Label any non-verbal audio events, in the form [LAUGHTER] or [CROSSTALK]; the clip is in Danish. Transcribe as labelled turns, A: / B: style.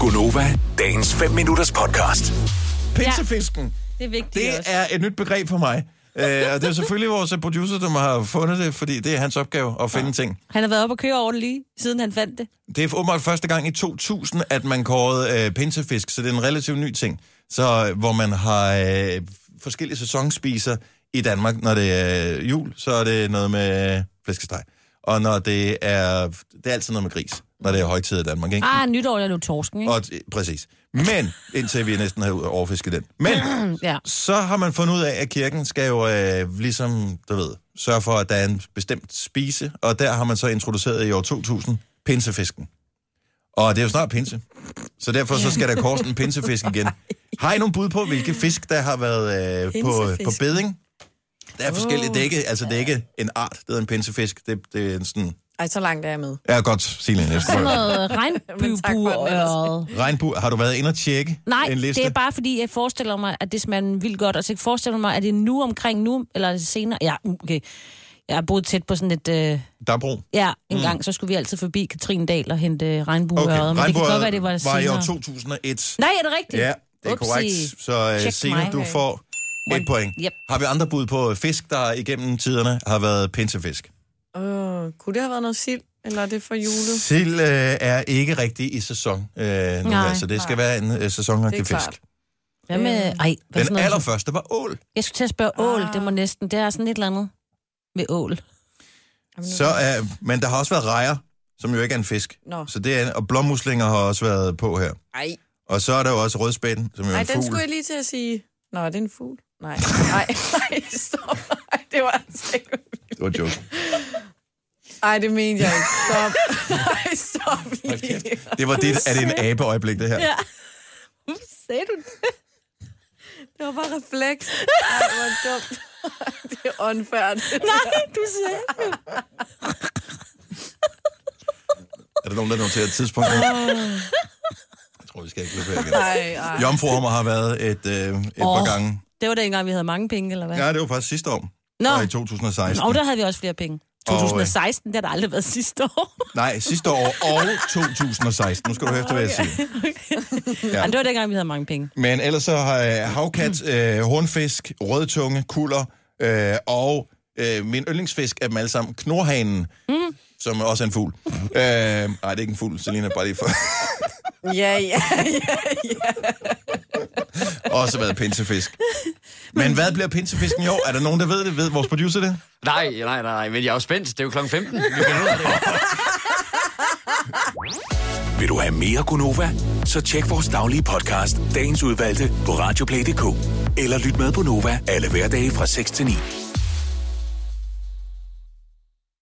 A: Gunova, dagens 5 minutters podcast.
B: Pinsefisken,
C: Det er vigtigt
B: det
C: også.
B: er et nyt begreb for mig. Øh, og det er selvfølgelig vores producer, der har fundet det, fordi det er hans opgave at finde ting.
C: Han har været oppe og køre over det lige, siden han fandt det.
B: Det er åbenbart første gang i 2000, at man kårede øh, pinsefisk, så det er en relativt ny ting. Så øh, hvor man har øh, forskellige sæsonspiser i Danmark. Når det er øh, jul, så er det noget med øh, flæskesteg. Og når det er... Det er altid noget med gris, når det er højtid i Danmark, ikke?
C: Ah, nytår er nu torsken, ikke?
B: Og, øh, præcis. Men, indtil vi næsten har overfisket den. Men,
C: [CLEARS THROAT] Ja.
B: så har man fundet ud af, at kirken skal jo øh, ligesom, du ved, sørge for, at der er en bestemt spise, og der har man så introduceret i år 2000 pinsefisken. Og det er jo snart pinse, så derfor så skal der korsen en pinsefisk
C: [LAUGHS]
B: igen. Har I nogen bud på, hvilke fisk, der har været øh, på,
D: Pinsefisk.
B: på beding? Der er forskellige, det er ikke, altså det er ikke en art, det er en pinsefisk, det, det er en sådan,
D: Ej, så langt er jeg med.
B: ja godt, Signe næste. [LAUGHS]
C: Sådan noget
D: Men tak for den
C: regnbueburet.
B: Regnbu, har du været inde og tjekke
C: Nej,
B: en liste?
C: det er bare fordi, jeg forestiller mig, at det smager den vildt godt. Og så forestiller mig, at det er nu omkring nu, eller er det senere. Ja, mm, okay. Jeg har boet tæt på sådan et... Øh,
B: Dabro.
C: ja, en mm. gang, så skulle vi altid forbi Katrindal og hente regnbueøret.
B: Okay,
C: men det kan godt være, det var,
B: var, var i
C: senere.
B: år 2001.
C: Nej, er det rigtigt?
B: Ja, det er
C: Upsi.
B: korrekt. Så uh,
C: Check
B: Signe,
C: mig.
B: du får et point.
C: Yep.
B: Har vi andre bud på fisk, der igennem tiderne har været pinsefisk?
D: Åh, kunne det have været noget sild? Eller er det for julet?
B: Sild uh, er ikke rigtig i sæson uh, nu,
C: Nej,
B: her, så det skal være en uh, sæsonagtig
D: Det er
B: fisk.
D: klart.
C: Hvad med... Ej, hvad er sådan
B: Den
C: noget?
B: allerførste var ål.
C: Jeg skulle til at spørge ål, det må næsten... Det er sådan et eller andet med ål.
B: Så, uh, men der har også været rejer, som jo ikke er en fisk.
D: Nå.
B: Så det er, og blommuslinger har også været på her.
D: Ej,
B: Og så er der jo også rødspætten, som jo er
D: Ej
B: en
D: den skulle
B: fugl.
D: jeg lige til at sige. Nå, er det en fugl? Nej, nej, [LAUGHS] nej, stop. Ej, det var altså ikke...
B: Det var en joke.
D: Ej, det mente jeg ikke. Stop. Ej, stop lige.
B: Det var dit, er det en abeøjeblik, det her?
C: Ja. Ups, sagde du det?
D: Det var bare refleks. Ej, hvor dumt. Det er åndfærdigt.
C: Nej, du sagde det.
B: Er der nogen, der noterer et tidspunkt? nu? jeg tror, vi skal ikke løbe her igen.
D: Ej, ej.
B: Jomfruhummer har været et, øh, et par
C: Åh.
B: gange.
C: Det var dengang, vi havde mange penge, eller hvad?
B: Ja, det var faktisk sidste år.
C: Nå.
B: Og i 2016.
C: Og der havde vi også flere penge.
B: Og, øh,
C: 2016, det har der aldrig været sidste år.
B: Nej, sidste år og 2016. Nu skal du høre efter, hvad jeg siger.
C: Ja. [LAUGHS] Men det var dengang, vi havde mange penge.
B: Men ellers så har jeg havkat, øh, hornfisk, rødtunge, kuller øh, og øh, min yndlingsfisk af dem alle sammen, knorhanen, mm. som også er en
C: [LAUGHS]
B: fugl. øh, nej, det er ikke en fugl, Selina, bare lige for.
D: Ja, ja, ja.
B: også været pinsefisk. Men hvad bliver pinsefisken i år? Er der nogen, der ved det? Ved vores producer det?
E: Nej, nej, nej, nej, men jeg er jo spændt. Det er jo klokken 15. Vi finder ud af det.
A: Vil du have mere Gunova? Så tjek vores daglige podcast, dagens udvalgte, på radioplay.dk. Eller lyt med på Nova alle hverdage fra 6 til 9.